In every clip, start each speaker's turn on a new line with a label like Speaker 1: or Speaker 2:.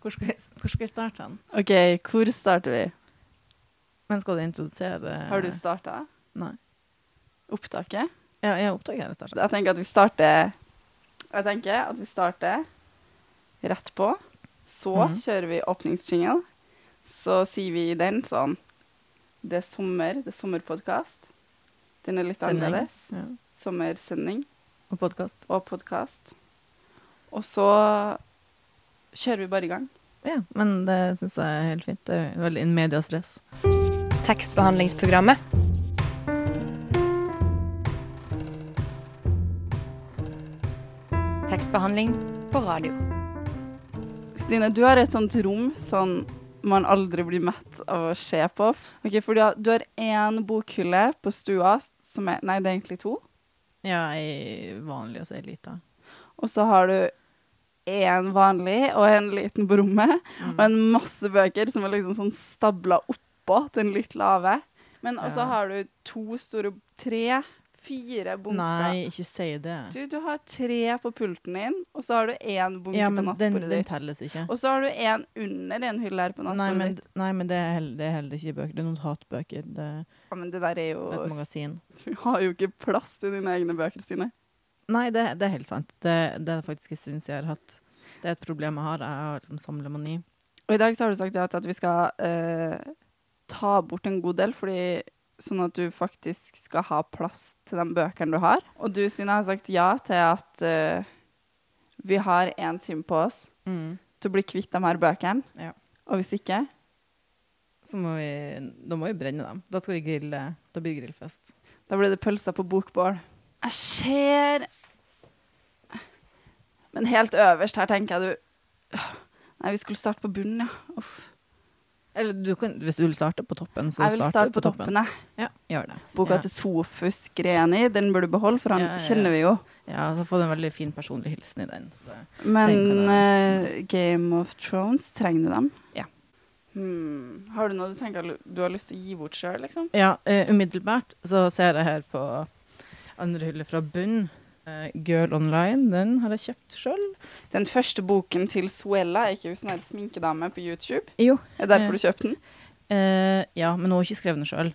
Speaker 1: Hvor skal jeg, hvor skal jeg starte den?
Speaker 2: OK, hvor starter vi?
Speaker 1: Men skal du introdusere
Speaker 2: Har du starta
Speaker 1: Nei.
Speaker 2: opptaket?
Speaker 1: Ja, jeg oppdager jeg starter.
Speaker 2: Jeg tenker at vi starter Jeg tenker at vi starter rett på. Så
Speaker 1: Mhm.
Speaker 2: kjører vi åpningsjingle. Så sier vi i den sånn Det er sommer, det er sommerpodkast. Den er litt
Speaker 1: Sending.
Speaker 2: annerledes.
Speaker 1: Ja.
Speaker 2: Sommersending
Speaker 1: Og podkast.
Speaker 2: og podkast. Og så kjører vi bare i gang.
Speaker 1: Ja, men det syns jeg er helt fint. Det er veldig in medias res.
Speaker 3: Tekstbehandlingsprogrammet. Tekstbehandling på radio.
Speaker 2: Stine, du har et sånt rom sånn man aldri blir mett av å se på. Ok, for du har, du har én bokhylle på stua, som er Nei, det er egentlig to.
Speaker 1: Ja, ei vanlig og så ei lita.
Speaker 2: Og så har du én vanlig og en liten på rommet,
Speaker 1: Mm.
Speaker 2: og en masse bøker som er liksom sånn stabla oppå den litt lave. Men også
Speaker 1: Ja.
Speaker 2: har du to store Tre, fire bunker.
Speaker 1: Nei, ikke si det.
Speaker 2: Du, du har tre på pulten din, og så har du én bunke
Speaker 1: Ja,
Speaker 2: på
Speaker 1: men den, den
Speaker 2: nattbordet ditt.
Speaker 1: telles ikke.
Speaker 2: Og så har du én under en hylle her på
Speaker 1: Nei
Speaker 2: nattbordet
Speaker 1: men,
Speaker 2: ditt.
Speaker 1: nei, men det er heller, det er heller ikke bøker. Det er noen hatbøker. Det er
Speaker 2: Ja, men det der er
Speaker 1: et
Speaker 2: jo
Speaker 1: magasin.
Speaker 2: Du har jo ikke plass til dine egne bøker, Stine.
Speaker 1: Nei, det, det er helt sant. Det, det er faktisk en stund siden jeg har hatt. Det er et problem jeg har. Jeg har liksom samlemani.
Speaker 2: Og i dag så har du sagt ja til at vi skal eh, ta bort en god del, fordi, sånn at du faktisk skal ha plass til de bøkene du har. Og du, Stine, har sagt ja til at eh, vi har én time på oss
Speaker 1: Mm.
Speaker 2: til å bli kvitt de her bøkene.
Speaker 1: Ja.
Speaker 2: Og hvis ikke
Speaker 1: Så må vi, da må vi brenne dem. Da skal vi grille. Da blir det grillfest.
Speaker 2: Da blir det pølser på bokbål. Jeg ser Men helt øverst her tenker jeg du Nei, vi skulle starte på bunnen, ja. Uff.
Speaker 1: Eller du kan, hvis du vil starte på toppen, så
Speaker 2: Jeg vil
Speaker 1: starter
Speaker 2: starte
Speaker 1: du
Speaker 2: på toppen, jeg.
Speaker 1: Ja, gjør det.
Speaker 2: Boka
Speaker 1: Ja.
Speaker 2: til Sofus Greni, den bør du beholde, for han
Speaker 1: Ja, ja, ja.
Speaker 2: kjenner vi jo.
Speaker 1: Ja, så får du en veldig fin personlig hilsen i den. Så det. Tenk på
Speaker 2: Men
Speaker 1: det.
Speaker 2: eh, Game of Thrones, trenger du dem?
Speaker 1: Ja.
Speaker 2: Hmm. Har du noe du tenker du har lyst til å gi bort sjøl, liksom?
Speaker 1: Ja, eh, umiddelbart så ser jeg her på andre hylle fra bunn. Eh, Girl Online, den har jeg kjøpt sjøl.
Speaker 2: Den første boken til Suella, er ikke hun sånn her sminkedame på YouTube?
Speaker 1: Jo,
Speaker 2: Er det derfor du kjøpte den?
Speaker 1: Eh, ja, men hun har ikke skrevet den sjøl.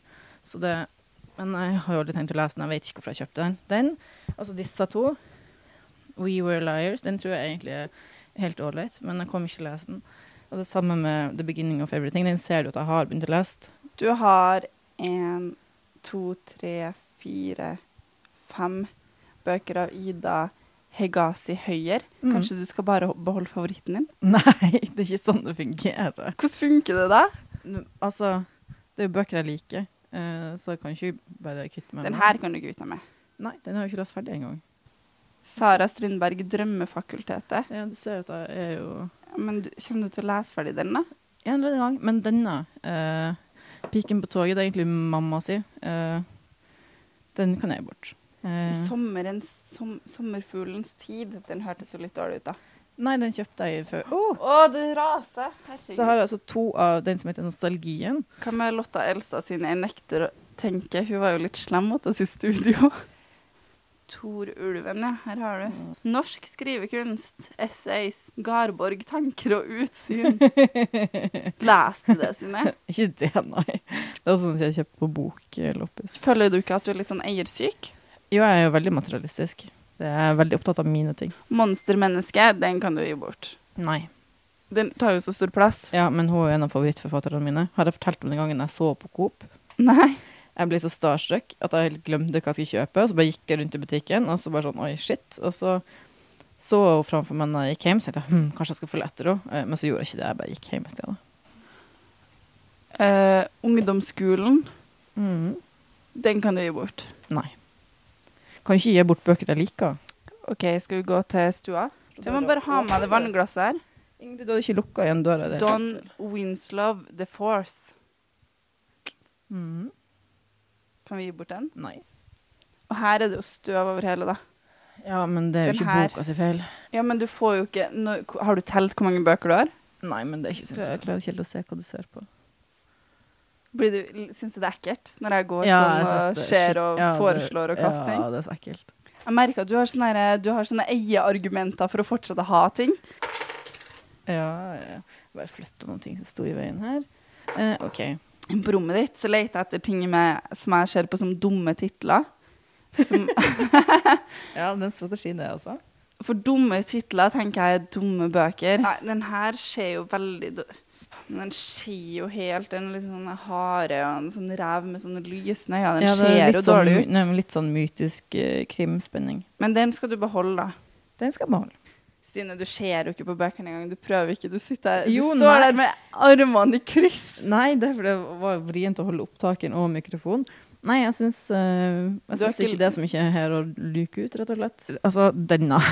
Speaker 1: Men jeg har jo aldri tenkt å lese den. Jeg vet ikke hvorfor jeg kjøpte den. Den, altså disse to, We Were Liars, den tror jeg egentlig er helt ålreit, men jeg kommer ikke til å lese den. Og det samme med The Beginning of Everything. Den ser du at jeg har begynt å lese.
Speaker 2: Du har én, to, tre, fire, fem bøker av Ida Hegasi Høyer.
Speaker 1: Mm.
Speaker 2: Kanskje du skal bare beholde favoritten din?
Speaker 1: Nei, det er ikke sånn det fungerer.
Speaker 2: Hvordan funker det, da?
Speaker 1: N- Altså, det er jo bøker jeg liker, eh, så jeg kan ikke bare kutte meg
Speaker 2: Den
Speaker 1: med
Speaker 2: her kan du ikke vite med.
Speaker 1: Nei, den har jeg ikke lest ferdig engang.
Speaker 2: Sara Strindberg, 'Drømmefakultetet'.
Speaker 1: Ja, du ser at jeg er jo
Speaker 2: Men du, kommer du til å lese ferdig den, da?
Speaker 1: En eller annen gang. Men denne, eh, 'Piken på toget', det er egentlig mamma si. Eh, den kan jeg gi bort.
Speaker 2: I
Speaker 1: Eh,
Speaker 2: sommerens, som, 'Sommerfuglens tid'. Den hørtes jo litt dårlig ut, da.
Speaker 1: nei, den kjøpte jeg før. Å!
Speaker 2: Å, det raser! Herregud.
Speaker 1: Så har jeg altså to av den som heter 'Nostalgien'.
Speaker 2: Hva med Lotta Elstad sin 'Jeg nekter å tenke'? Hun var jo litt slem mot oss i studio. Tor Ulven, ja. Her har du.
Speaker 1: Mm.
Speaker 2: Norsk skrivekunst. Essays. Garborg. Tanker og utsyn. Leste du det, Synne?
Speaker 1: Ikke det, nei. Det er sånn som jeg kjøper på bokloppis.
Speaker 2: Føler du ikke at du er litt sånn eiersyk?
Speaker 1: Jo, jeg er jo veldig materialistisk. Det er jeg veldig opptatt av mine ting.
Speaker 2: Monstermenneske, den kan du gi bort.
Speaker 1: Nei.
Speaker 2: Den tar jo så stor plass.
Speaker 1: Ja, men hun er en av favorittforfatterne mine. Har jeg fortalt om den gangen jeg så på Coop?
Speaker 2: Nei.
Speaker 1: Jeg ble så starstruck at jeg helt glemte hva jeg skulle kjøpe. Og så bare gikk jeg rundt i butikken, og så bare sånn oi, shit. Og så så jeg henne framfor meg når jeg gikk hjem, så tenkte jeg hm, kanskje jeg skal følge etter henne. Eh, Men så gjorde jeg ikke det, jeg bare gikk hjem i stedet.
Speaker 2: Eh, ungdomsskolen,
Speaker 1: Mm.
Speaker 2: den kan du gi bort.
Speaker 1: Nei. Kan ikke gi bort bøker jeg liker.
Speaker 2: OK, skal vi gå til stua? Du må bare ha med det vannglasset her.
Speaker 1: Ingrid, du hadde ikke lukka igjen døra. det er
Speaker 2: Don
Speaker 1: helt
Speaker 2: Winslow The Force.
Speaker 1: til. Mhm.
Speaker 2: Kan vi gi bort den?
Speaker 1: Nei.
Speaker 2: Og her er det jo støv over hele, da.
Speaker 1: Ja, men det er jo
Speaker 2: Den
Speaker 1: ikke
Speaker 2: her.
Speaker 1: boka si feil.
Speaker 2: Ja, men du får jo ikke når, Har du telt hvor mange bøker du har?
Speaker 1: Nei, men det er ikke så Jeg klarer ikke helt å se hva du ser på.
Speaker 2: Blir du, syns du det er ekkelt når jeg går sånn og ser og foreslår og kaster ting?
Speaker 1: Ja, det er så ekkelt.
Speaker 2: Jeg merker at du har sånne, her- du har sånne eieargumenter for å fortsette å ha ting.
Speaker 1: Ja, ja. Bare flytta noen ting som sto i veien her. Eh, OK.
Speaker 2: På rommet ditt så leter jeg etter ting med, som jeg ser på som dumme titler. Som,
Speaker 1: Ja, den strategien er også.
Speaker 2: for dumme titler tenker jeg er dumme bøker. Nei, den her ser jo veldig du- Den ser jo helt Den er litt sånn hare og en sånn rev med sånne lysende øyne. Den
Speaker 1: Ja, det er
Speaker 2: ser
Speaker 1: litt
Speaker 2: jo
Speaker 1: sånn,
Speaker 2: dårlig ut.
Speaker 1: Nei, men litt sånn mytisk eh, krimspenning.
Speaker 2: Men den skal du beholde, da.
Speaker 1: Den skal beholde.
Speaker 2: Stine, du ser jo ikke på bøkene engang. Du prøver ikke. Du, sitter,
Speaker 1: Jo,
Speaker 2: du står
Speaker 1: nei.
Speaker 2: der med armene i kryss.
Speaker 1: Nei, det, er fordi det var vrient å holde opptaken og mikrofon. Nei, jeg syns, eh,
Speaker 2: har
Speaker 1: jeg syns
Speaker 2: ikke-
Speaker 1: ikke det er så mye her å luke ut, rett og slett. Altså, denne.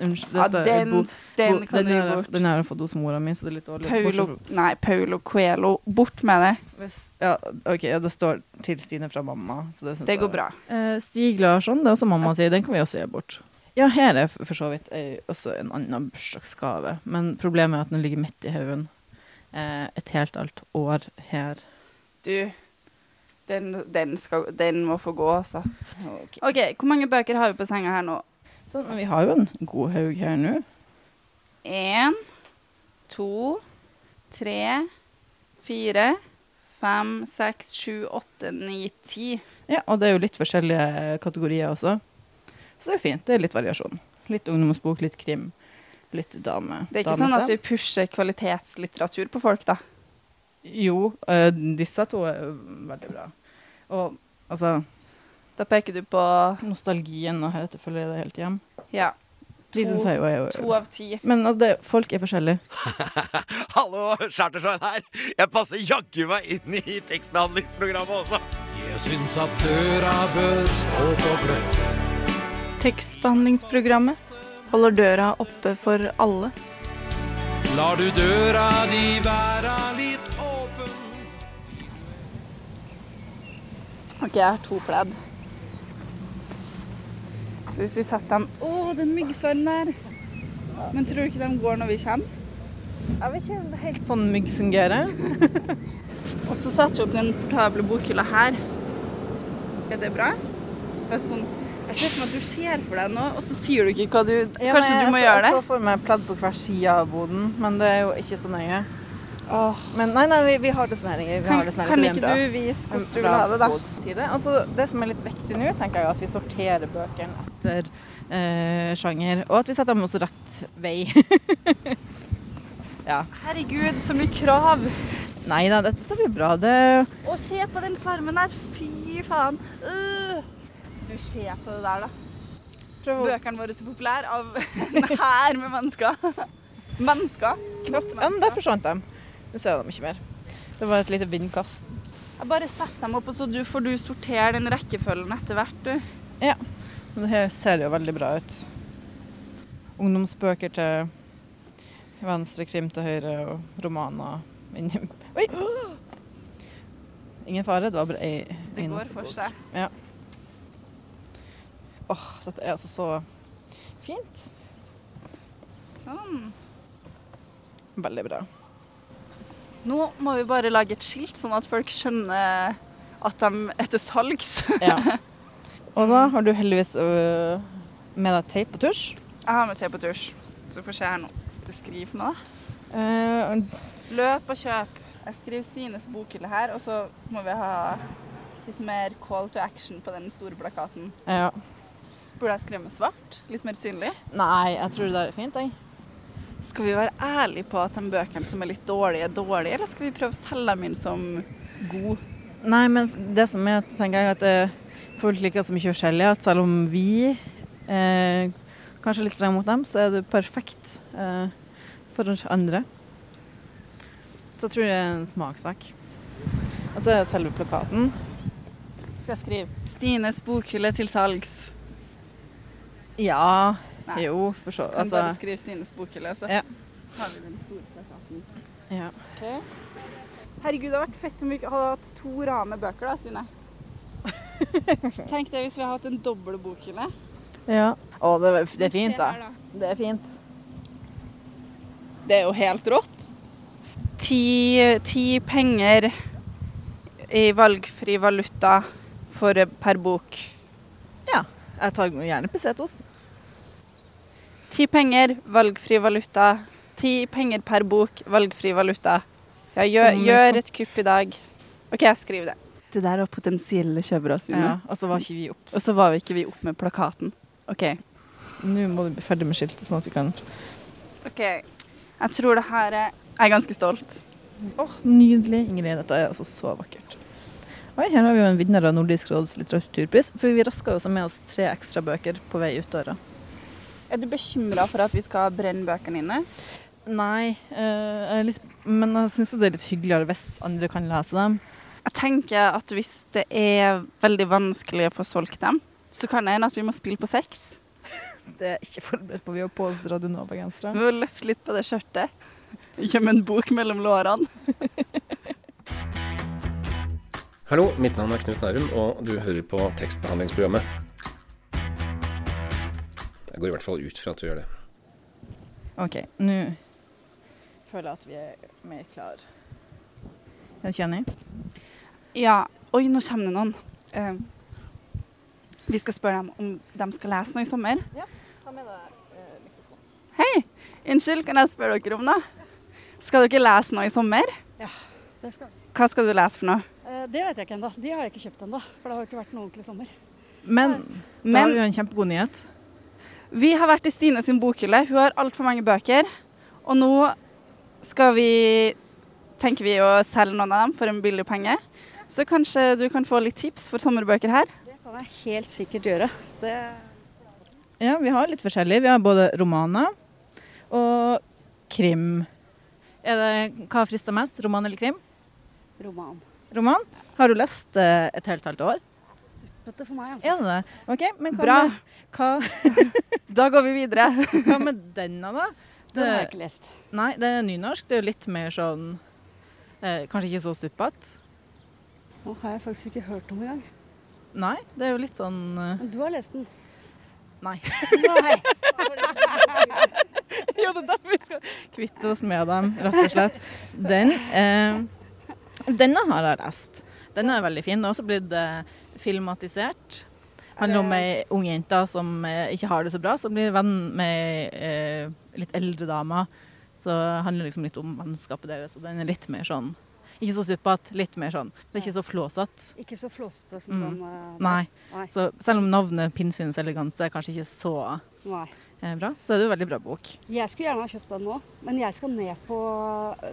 Speaker 1: Unnskyld.
Speaker 2: Ja,
Speaker 1: dette er
Speaker 2: den,
Speaker 1: bok-
Speaker 2: den
Speaker 1: bok-
Speaker 2: kan du
Speaker 1: den
Speaker 2: gi
Speaker 1: her-
Speaker 2: bort.
Speaker 1: Den her har jeg fått hos mora mi, så det er litt dårlig.
Speaker 2: Paulo,
Speaker 1: Bortsett
Speaker 2: nei, Paulo Coelho. Bort med det.
Speaker 1: fra- hvis- Ja, OK, ja, det står 'til Stine fra mamma', så det syns
Speaker 2: Det
Speaker 1: jeg
Speaker 2: går bra.
Speaker 1: Eh, Stig Larsson, det er også mamma sier, den kan vi også gi bort. Ja, her er for så vidt ei, også en annen bursdagsgave, men problemet er at den ligger midt i haugen. Eh, et helt alt år her.
Speaker 2: Du, den, den, skal, den må få gå, altså. OK, hvor mange bøker har vi på senga her nå?
Speaker 1: Sånn, men vi har jo en god haug her nå.
Speaker 2: Én, to, tre, fire, fem, seks, sju, åtte, ni, ti.
Speaker 1: Ja, og det er jo litt forskjellige kategorier også. Så det er fint, det er litt variasjon. Litt ungdomsbok, litt krim, litt dame.
Speaker 2: Det er ikke
Speaker 1: damete.
Speaker 2: sånn at vi pusher kvalitetslitteratur på folk, da.
Speaker 1: Jo, eh, disse to er jo veldig bra. Og altså,
Speaker 2: Da peker du på
Speaker 1: nostalgien og heretter følger jeg det helt hjem.
Speaker 2: ja,
Speaker 1: De synes jeg jo er jo...
Speaker 2: to av ti.
Speaker 1: Men altså, det, folk er forskjellige.
Speaker 3: Hallo, Chartershine her. Jeg passer jaggu meg inn i tekstbehandlingsprogrammet også.
Speaker 4: Jeg syns at døra bør stå på gløtt.
Speaker 5: Tekstbehandlingsprogrammet holder døra oppe for alle.
Speaker 4: Lar du døra di være litt åpen
Speaker 2: Ok, jeg har to pledd. Så hvis vi setter dem Å, det er myggsverden der! Men tror du ikke de går når vi kommer?
Speaker 1: Jeg vet ikke om det er helt sånn mygg fungerer.
Speaker 2: Og så setter vi opp den portable bokhylla her. Er det bra? Det er sånn Jeg ser for meg at du ser for deg noe, og så sier du ikke hva du Kanskje du må gjøre det?
Speaker 1: Jeg så for meg pledd på hver side av boden, men det er jo ikke så nøye. Men nei, nei, vi, vi har det sånn her. Inge, Vi har
Speaker 2: Kan,
Speaker 1: det sånn her.
Speaker 2: kan
Speaker 1: Det
Speaker 2: ikke
Speaker 1: blir en
Speaker 2: du vise
Speaker 1: bra-
Speaker 2: hvordan du
Speaker 1: en
Speaker 2: vil ha det,
Speaker 1: bra
Speaker 2: da?
Speaker 1: bodtide. Altså, det som er litt viktig nå, tenker jeg, er at vi sorterer bøkene etter eh, sjanger, og at vi setter dem hos rett vei. ja.
Speaker 2: Herregud, så mye krav!
Speaker 1: Nei da, dette blir bra. Det
Speaker 2: Å, se på den svermen der! Fy faen! Øh. Du, se på det der, da.
Speaker 1: Prøv å
Speaker 2: bøkene våre så populære av en hær med mennesker. Mennesker.
Speaker 1: knapt Ja, men der forsvant de. Nå ser jeg dem ikke mer. Det var et lite vindkast.
Speaker 2: Jeg bare setter dem opp, og så du, får du sortere den rekkefølgen etter hvert, du.
Speaker 1: Men det her ser jo veldig bra ut. Ungdomsbøker til venstre, krim til høyre og romaner. inni- Oi! Ingen fare, det var bare ei
Speaker 2: Det
Speaker 1: eneste
Speaker 2: går for
Speaker 1: bok.
Speaker 2: seg.
Speaker 1: Åh, dette er altså så fint.
Speaker 2: Sånn.
Speaker 1: Veldig bra.
Speaker 2: Nå må vi bare lage et skilt, sånn at folk skjønner at de er til salgs.
Speaker 1: Ja. Og da har du heldigvis øh, med deg teip og tusj.
Speaker 2: Jeg har med te på tusj, så får jeg se her nå. Beskriv meg, da.
Speaker 1: Eh, og
Speaker 2: Løp og kjøp. Jeg skriver Stines bokhylle her, og så må vi ha litt mer call to action på den store plakaten.
Speaker 1: ja.
Speaker 2: Burde jeg skrive med svart? Litt mer synlig?
Speaker 1: Nei, jeg tror det der er fint, jeg.
Speaker 2: Skal vi være ærlige på at de bøkene som er litt dårlige, er dårlige, eller skal vi prøve å selge dem inn som god?
Speaker 1: Nei, men det som er, tenker jeg, at eh, folk liker så mye forskjellig, at selv om vi eh, kanskje er litt strenge mot dem, så er det perfekt eh, for andre. Så jeg tror det er en smaksak. Og så er det selve plakaten.
Speaker 2: Skal jeg skrive 'Stines bokhylle til salgs'?
Speaker 1: Ja,
Speaker 2: Nei.
Speaker 1: jo, for så
Speaker 2: Kan bare
Speaker 1: altså,
Speaker 2: skrive 'Stines bokhylle', og så
Speaker 1: Ja.
Speaker 2: har vi den store plakaten.
Speaker 1: ja.
Speaker 2: Herregud, det har vært fett om vi ikke hadde hatt to rader med bøker, da, Stine. Tenk det hvis vi hadde hatt en dobbel bokhylle.
Speaker 1: ja. Å, det, er- det er
Speaker 2: Se
Speaker 1: fint,
Speaker 2: her,
Speaker 1: da. Det er fint.
Speaker 2: Det er jo helt rått. Ti, ti penger i valgfri valuta for, eh, per bok.
Speaker 1: Jeg tar gjerne pesetos.
Speaker 2: Ti penger, valgfri valuta Ti penger per bok, valgfri valuta. Ja,
Speaker 1: Som-
Speaker 2: gjør, gjør et kupp i dag. OK, jeg skriver det. eh, Det der var potensielle kjøpere
Speaker 1: Ja, og så var ikke vi obs.
Speaker 2: Og så var vi ikke vi opp med plakaten. OK.
Speaker 1: Nå må du bli ferdig med skiltet, sånn at vi kan
Speaker 2: Jeg tror det her er Jeg er ganske stolt.
Speaker 1: Åh, Nydelig, Ingrid. Dette er altså så vakkert. Oi, her har vi jo en vinner av Nordisk råds litteraturpris. For vi raska jo også med oss tre ekstra bøker på vei ut døra.
Speaker 2: Er du bekymra for at vi skal brenne bøkene inne?
Speaker 1: Nei, eh, jeg er litt, men jeg syns jo det er litt hyggeligere hvis andre kan lese dem.
Speaker 2: Jeg tenker at hvis det er veldig vanskelig å få solgt dem, så kan det hende at vi må spille på sex.
Speaker 1: Det er ikke forberedt på. Vi har på oss Radio Nova-gensere.
Speaker 2: Vi må løfte litt på det skjørtet. Gjemme en bok mellom lårene.
Speaker 6: Hallo, mitt navn er Knut Nærum, og du hører på tekstbehandlingsprogrammet. Jeg går i hvert fall ut fra at du gjør det.
Speaker 1: OK, nå føler jeg at vi er mer klar. Er du ikke enig?
Speaker 2: Ja. Oi, nå kommer det noen. Eh, vi skal spørre dem om de skal lese noe i sommer.
Speaker 7: eh,
Speaker 2: Hei! Unnskyld, kan jeg spørre dere om noe? Skal dere lese noe i sommer?
Speaker 7: Det, skal. vi.
Speaker 2: Hva skal du lese for noe?
Speaker 7: Eh, det vet jeg ikke ennå. De har jeg ikke kjøpt ennå. For det har jo ikke vært noen ordentlig sommer.
Speaker 1: Men, da har
Speaker 2: Men
Speaker 1: vi jo en kjempegod nyhet.
Speaker 2: vi har vært i Stine sin bokhylle. Hun har altfor mange bøker. Og nå skal vi tenker vi å selge noen av dem for en billig penge. Så kanskje du kan få litt tips for sommerbøker her.
Speaker 7: Det kan jeg helt sikkert gjøre. Det,
Speaker 1: Ja, vi har litt forskjellig. Vi har både romaner og krim. Er det, hva frister mest, roman eller krim?
Speaker 7: roman.
Speaker 1: Roman. Har du lest eh, et helt halvt år?
Speaker 7: Dette for meg, altså.
Speaker 1: Er det det? OK, men hva,
Speaker 2: Bra.
Speaker 1: Med, hva,
Speaker 2: Da går vi videre.
Speaker 1: hva med denne, da?
Speaker 7: Den har jeg ikke lest.
Speaker 1: Nei, det er nynorsk. Det er jo litt mer sånn eh, Kanskje ikke så stuppete.
Speaker 7: Den har jeg faktisk ikke hørt om engang.
Speaker 1: Nei, det er jo litt sånn eh,
Speaker 7: Men du har lest den?
Speaker 1: Nei.
Speaker 7: Nei.
Speaker 1: Ja, det er derfor vi skal kvitte oss med dem, rett og slett. Den, eh, denne har jeg lest. Den er veldig fin. Den har også blitt eh, filmatisert. Handler om ei ung jente som eh, ikke har det så bra, som blir venn med ei eh, litt eldre dame. Så handler liksom litt om vennskapet deres, og den er litt mer sånn Ikke så suppete, litt mer sånn. Det er ikke så flåsete.
Speaker 7: Ikke så flåsete som
Speaker 1: Mm.
Speaker 7: den eh,
Speaker 1: Nei.
Speaker 7: Nei.
Speaker 1: Så selv om navnet 'Pinnsvinets eleganse' er kanskje ikke så
Speaker 7: Nei.
Speaker 1: eh, bra, så er det jo en veldig bra bok.
Speaker 7: Jeg skulle gjerne ha kjøpt den nå, men jeg skal ned på,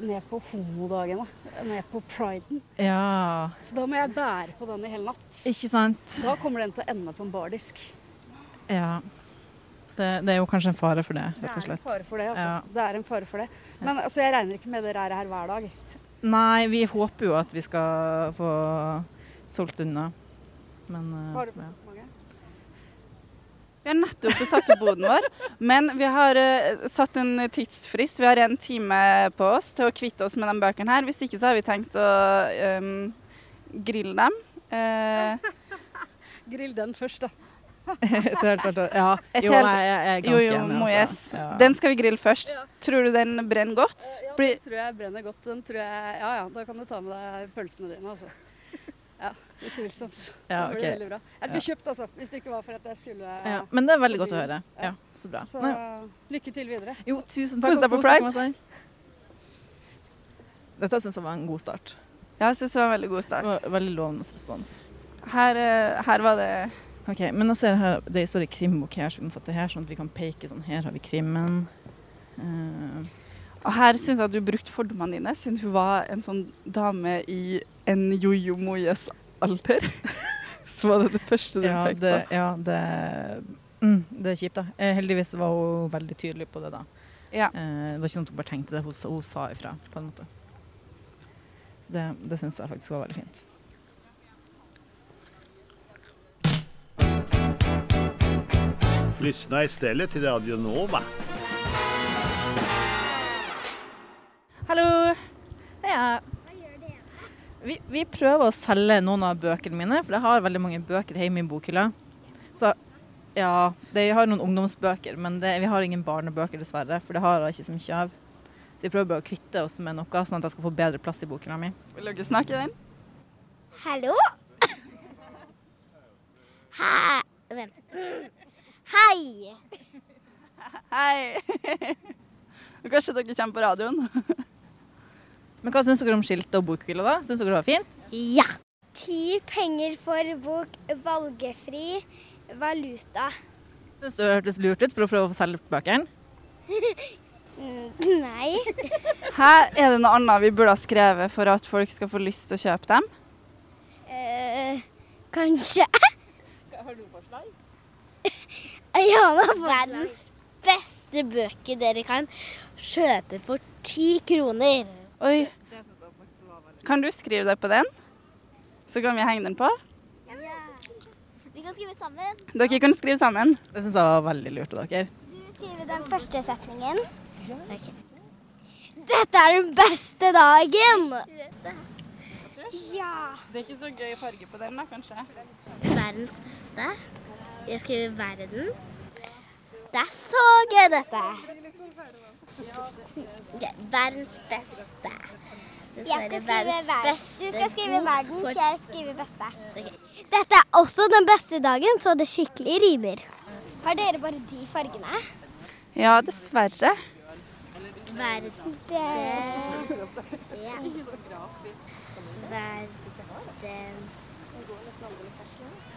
Speaker 7: ned på homodagen. da. Ned på priden.
Speaker 1: Ja,
Speaker 7: Så da må jeg bære på den i hele natt.
Speaker 1: ikke sant?
Speaker 7: Da kommer den til å ende på en bardisk.
Speaker 1: Ja. Det, det er jo kanskje en fare for det, rett og slett.
Speaker 7: Det er en fare for det, altså.
Speaker 1: Ja.
Speaker 7: Det er en fare for det. Men altså, jeg regner ikke med det ræret her hver dag.
Speaker 1: Nei, vi håper jo at vi skal få solgt unna. Men eh,
Speaker 7: Har du på
Speaker 1: ja.
Speaker 7: så mange?
Speaker 2: Vi har nettopp besatt opp boden vår, men vi har eh, satt en tidsfrist. Vi har en time på oss til å kvitte oss med de bøkene her. Hvis ikke så har vi tenkt å ehm, grille dem. Eh,
Speaker 7: Grill den først, da.
Speaker 1: Et helt annet år. Ja.
Speaker 2: Et
Speaker 1: Jo,
Speaker 2: helt-
Speaker 1: jeg, jeg er
Speaker 2: jo,
Speaker 1: ganske
Speaker 2: jo,
Speaker 1: enig.
Speaker 2: må yes.
Speaker 1: altså. Ja.
Speaker 2: Den skal vi grille først. Tror du den brenner godt?
Speaker 7: Ja,
Speaker 2: Blir,
Speaker 7: den tror jeg brenner godt. Den tror jeg Ja ja, da kan du ta med deg pølsene dine, altså. Ja, utvilsomt.
Speaker 1: Ja,
Speaker 7: Da blir det
Speaker 1: ok.
Speaker 7: veldig bra. Jeg skulle kjøpt, altså, hvis det ikke var for at jeg skulle
Speaker 1: ja. Men det er veldig godt å høre. Ja, så bra.
Speaker 7: Så
Speaker 1: Nei,
Speaker 7: lykke til videre.
Speaker 1: jo, tusen
Speaker 2: Kos
Speaker 1: takk.
Speaker 2: deg
Speaker 1: og
Speaker 2: på
Speaker 1: kos dere med seg. Dette syns jeg var en god start.
Speaker 2: ja, jeg syns det var en veldig god
Speaker 1: Det
Speaker 2: start.
Speaker 1: var veldig lovende respons.
Speaker 2: Her, eh, her var det
Speaker 1: Ok, Men jeg ser her, det står en krimbok her, så vi må sette her, sånn at vi kan peke sånn. Her har vi krimmen. Eh,
Speaker 2: Og her syns jeg at du brukte fordommene dine, siden hun var en sånn dame i en jojo moyes alter. Så var det det første du
Speaker 1: ja,
Speaker 2: pekte
Speaker 1: det,
Speaker 2: på.
Speaker 1: Ja, det, mm, det er kjipt, da. Eh, heldigvis var hun veldig tydelig på det, da.
Speaker 2: Ja.
Speaker 1: Eh, det var ikke sånn at hun bare tenkte det, hun, sa- hun sa ifra, på en måte. Så det, det syns jeg faktisk var veldig fint.
Speaker 8: Lyssna istället till Radio Nova.
Speaker 2: Hallo!
Speaker 1: Ja. Vi, vi prøver å selge noen av bøkene mine, for jeg har veldig mange bøker hjemme i bokhylla. Så ja, det, jeg har noen ungdomsbøker, men det, vi har ingen barnebøker dessverre, for det har jeg ikke så mye av. Så vi prøver bare å kvitte oss med noe, sånn at jeg skal få bedre plass i bokhylla mi.
Speaker 2: Vil dere snakke i den?
Speaker 9: Hallo? Hei Vent. Hei!
Speaker 2: Hei! Kanskje dere kommer på radioen?
Speaker 1: Men hva syns dere om skiltet og bokhylla, da? Syns dere det var fint?
Speaker 9: Ja. Ti penger for bok valgefri valuta.
Speaker 1: Syns du det hørtes lurt ut for å prøve å få selge bøkene?
Speaker 9: Mm, Nei.
Speaker 2: Her er det noe annet vi burde ha skrevet for at folk skal få lyst til å kjøpe dem.
Speaker 9: Eh, kanskje. Har du forslag? Ja, det er verdens beste bøker dere kan kjøpe for ti kroner.
Speaker 2: Oi. Kan du skrive det på den? Så kan vi henge den på.
Speaker 9: Vi kan skrive sammen.
Speaker 2: Dere kan skrive sammen.
Speaker 1: Det syns jeg var veldig lurt av dere.
Speaker 9: Du skriver den første setningen. Dette er den beste dagen! Ja.
Speaker 2: Det er ikke så gøy farge på den, da, kanskje.
Speaker 9: Verdens beste. Jeg skriver verden. Det er så gøy, dette. Ja, verdens beste. Jeg skal skrive verden. Du skal skrive verden, jeg skriver beste. Dette er også den beste dagen, så det skikkelig rimer. Har dere bare de fargene?
Speaker 2: Ja, dessverre.
Speaker 9: Verden. Det ja. Verdens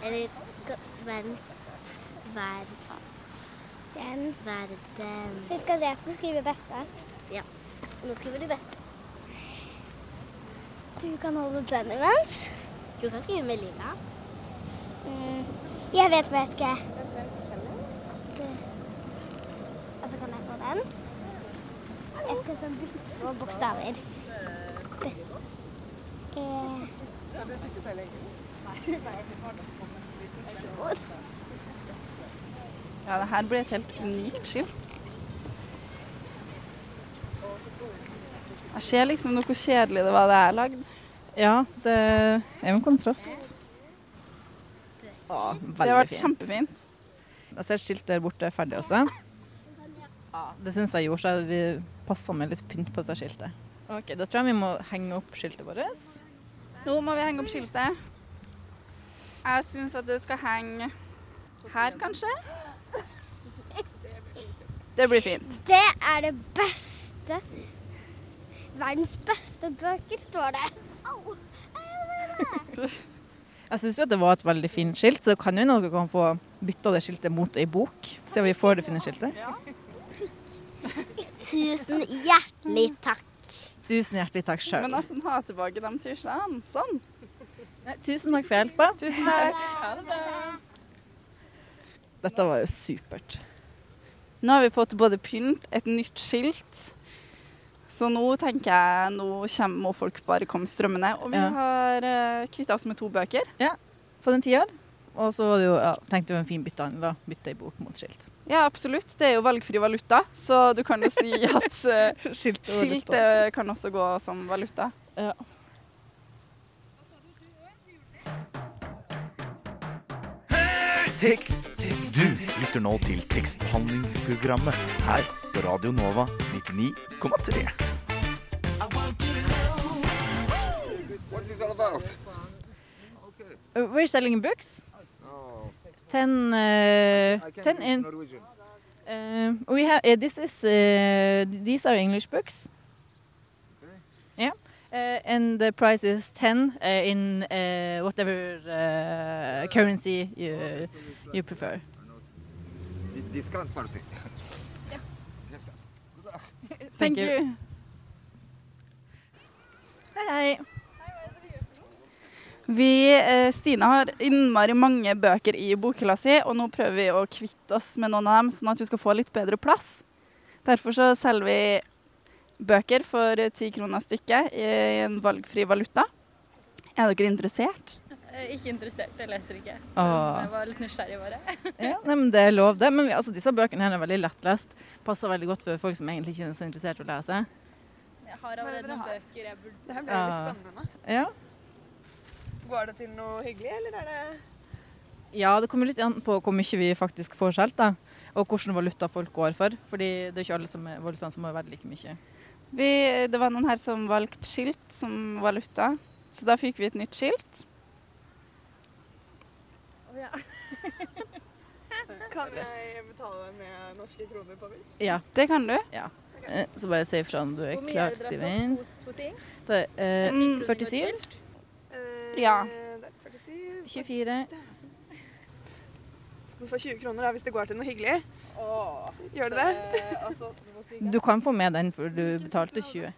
Speaker 9: Eller skal verdens Verden. Verdens Vi skal se at du skriver beste. Ja. Nå skriver du beste. Du kan holde den imens. Du kan skrive med lilla. Mm. Jeg vet bare ikke. Den svenske kjelen? Og så Altså, kan jeg få den. Jeg skal sånn på bokstaver. B. E.
Speaker 2: Ja, det her blir et helt unikt skilt. Jeg ser liksom noe kjedelig det var det jeg lagde.
Speaker 1: Ja, det er jo en kontrast. Å, veldig
Speaker 2: Det har vært
Speaker 1: fint.
Speaker 2: kjempefint.
Speaker 1: Jeg ser et skilt der borte er ferdig også. Det syns jeg gjorde, så vi passa med litt pynt på dette skiltet. Ok, Da tror jeg vi må henge opp skiltet vårt.
Speaker 2: Nå må vi henge opp skiltet. Jeg syns at det skal henge her, kanskje. Det blir fint.
Speaker 9: Det er det beste. Verdens beste bøker, står det. Au!
Speaker 1: Jeg syns jo at det var et veldig fint skilt, så det kan jo hende dere kan få bytta det skiltet mot ei bok. Se om vi får det fine skiltet.
Speaker 9: Tusen hjertelig takk.
Speaker 1: Tusen hjertelig takk sjøl.
Speaker 2: Men nesten ha tilbake de tusjene. Sånn.
Speaker 1: Tusen takk for hjelpa.
Speaker 2: Tusen takk.
Speaker 1: Dette var jo supert.
Speaker 2: Nå har vi fått både pynt, et nytt skilt. Så nå tenker jeg nå kommer, må folk bare komme strømmende. Og vi
Speaker 1: Ja.
Speaker 2: har uh, kvitta oss med to bøker.
Speaker 1: Fått en tier. Og så var det jo, ja, tenkte vi en fin byttehandel. da. Bytte ei bok mot skilt.
Speaker 2: Ja, absolutt. Det er jo valgfri valuta, så du kan jo si at eh,
Speaker 1: Skilt,
Speaker 2: skiltet kan også gå som valuta.
Speaker 1: Ja.
Speaker 10: Tekst. Du lytter nå til tekstbehandlingsprogrammet her på Radio Nova 99,3.
Speaker 1: Uh, We're selling books. Ten, uh, ten in. Uh, we have uh, this is uh, th- these are English books. Yeah, uh, and the price is ten uh, in uh, whatever uh, currency you you prefer.
Speaker 10: Discount party.
Speaker 1: Thank you. Hei, hei.
Speaker 2: Vi, eh, Stine har innmari mange bøker i bokhylla si, og nå prøver vi å kvitte oss med noen av dem, sånn at hun skal få litt bedre plass. Derfor så selger vi bøker for ti kroner stykket i en valgfri valuta. Er dere interessert?
Speaker 11: Eh, Ikke interessert, jeg leser ikke.
Speaker 1: Åh.
Speaker 11: Jeg var litt nysgjerrig, bare.
Speaker 1: Ja, nei, men det er lov, det. Men vi, altså, disse bøkene her er veldig lettlest. Passer veldig godt for folk som egentlig ikke er så interessert i å lese.
Speaker 11: Jeg har allerede noen bøker jeg burde
Speaker 1: Det blir litt spennende. Ah. Ja.
Speaker 11: Går det til noe hyggelig, eller er det
Speaker 1: Ja, det kommer litt an på hvor mye vi faktisk får skjelt, da. Og hvilken valuta folk går for. Fordi det er jo ikke alle som er, valutaene som er verdt like mye.
Speaker 2: Vi, det var noen her som valgte skilt som valuta, så da fikk vi et nytt skilt.
Speaker 11: Kan jeg betale med norske kroner på Vipps?
Speaker 1: Ja.
Speaker 2: Det kan du.
Speaker 1: Ja. Eh, Så bare si ifra når du er
Speaker 11: Hvor mye
Speaker 1: klar
Speaker 11: er det
Speaker 1: til
Speaker 11: dere
Speaker 1: skrive
Speaker 11: har
Speaker 1: inn.
Speaker 11: fått? To- to ting?
Speaker 1: Det er eh,
Speaker 11: Mm.
Speaker 1: 47,
Speaker 2: Ja.
Speaker 1: 24
Speaker 11: Du får 20 kroner da, hvis det går til noe hyggelig. Gjør det det?
Speaker 1: Du kan få med den, for du betalte 20.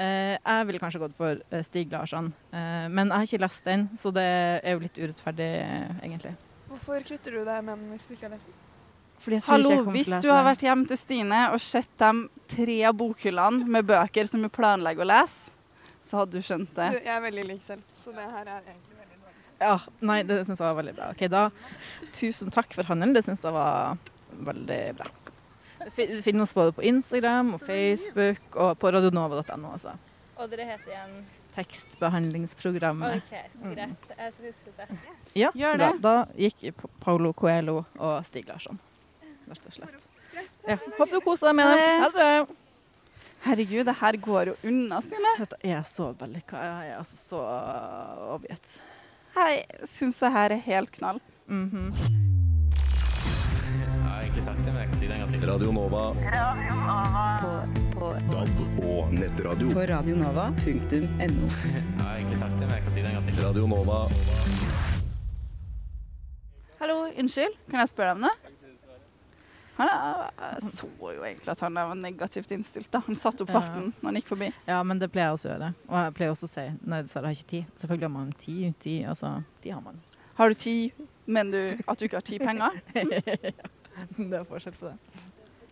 Speaker 1: Eh, jeg ville kanskje gått for eh, Stig Larsson, eh, men jeg har ikke lest den, så det er jo litt urettferdig, eh, egentlig.
Speaker 11: Hvorfor kvitter du deg med den hvis du ikke har lest den?
Speaker 1: Fordi jeg tror ikke
Speaker 2: Hallo,
Speaker 1: jeg kommer
Speaker 2: hvis
Speaker 1: til å lese
Speaker 2: du har
Speaker 1: den.
Speaker 2: vært hjem til Stine og sett de tre bokhyllene med bøker som hun planlegger å lese, så hadde du skjønt
Speaker 11: Du,
Speaker 2: det.
Speaker 11: jeg er veldig lik selv, så det her er egentlig veldig bra.
Speaker 1: Ja, nei, det syns jeg var veldig bra. Ok, da tusen takk for handelen, det syns jeg var veldig bra. Fi- Finn oss både på Instagram og Facebook og på radionova.no også.
Speaker 12: Og dere heter igjen
Speaker 1: Tekstbehandlingsprogrammet.
Speaker 12: OK, så greit. Jeg skal huske det.
Speaker 1: Ja,
Speaker 12: Gjør
Speaker 1: så bra.
Speaker 12: det.
Speaker 1: Da gikk Pa- Paolo Coelho og Stig Larsson, rett og slett. Ja, håper du koser deg med dem. Ha det!
Speaker 2: Herregud, det her går jo unna, Stine.
Speaker 1: Dette er så vellykka. Jeg er altså så overgitt.
Speaker 2: Jeg syns det her er helt knall. Mhm.
Speaker 13: Jeg har egentlig sagt det, men jeg kan si det en gang til. Radio Nova.
Speaker 14: DAB og nettradio.
Speaker 15: På radionova.no.
Speaker 13: Jeg har egentlig sagt det, men jeg kan si det en gang til. Radio Nova.
Speaker 2: Hallo, unnskyld, kan jeg spørre deg om noe? Han er, jeg så jo egentlig at han var negativt innstilt. da. Han satte opp
Speaker 1: Ja.
Speaker 2: farten når han gikk forbi.
Speaker 1: Ja, men det pleier jeg også å gjøre. Og jeg pleier også å si nei, dessverre, jeg har ikke tid. Selvfølgelig har man tid. tid altså, tid har man.
Speaker 2: Har du tid? Mener du at du ikke har ti penger?
Speaker 1: det er forskjell på det.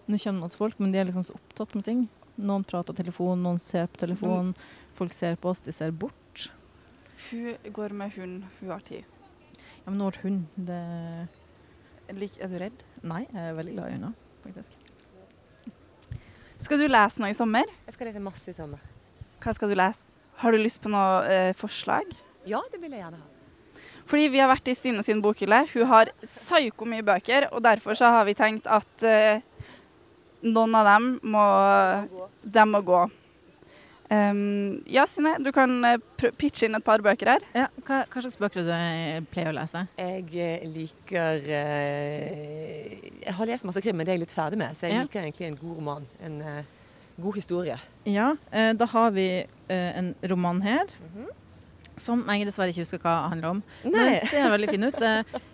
Speaker 1: Nå kjenner man folk, men de er liksom så opptatt med ting. Noen prater telefon, noen ser på telefon. Folk ser på oss, de ser bort.
Speaker 2: Hun går med hund, hun har tid.
Speaker 1: Ja, men nå har hun det
Speaker 2: Lik- Er du redd?
Speaker 1: Nei, jeg er veldig glad i hunder, faktisk.
Speaker 2: Skal du lese noe i sommer?
Speaker 16: Jeg skal lese masse i sommer.
Speaker 2: Hva skal du lese? Har du lyst på noe eh, forslag?
Speaker 16: Ja, det vil jeg gjerne ha.
Speaker 2: Fordi vi har vært i Stine sin bokhylle. Hun har psyko mye bøker, og derfor så har vi tenkt at eh, noen av dem må, de må gå. Ehm, ja, Stine, du kan eh, pr pitche inn et par bøker her.
Speaker 1: Ja, hva, hva slags bøker du eh, pleier å lese?
Speaker 16: Jeg eh, liker eh, Jeg har lest masse krim, men det er jeg litt ferdig med. Så jeg
Speaker 1: Ja.
Speaker 16: liker egentlig en god roman. En eh, god historie.
Speaker 1: Ja, eh, da har vi eh, en roman her. Som jeg dessverre ikke husker hva handler om. Men
Speaker 16: Nei.
Speaker 1: den ser veldig fin ut.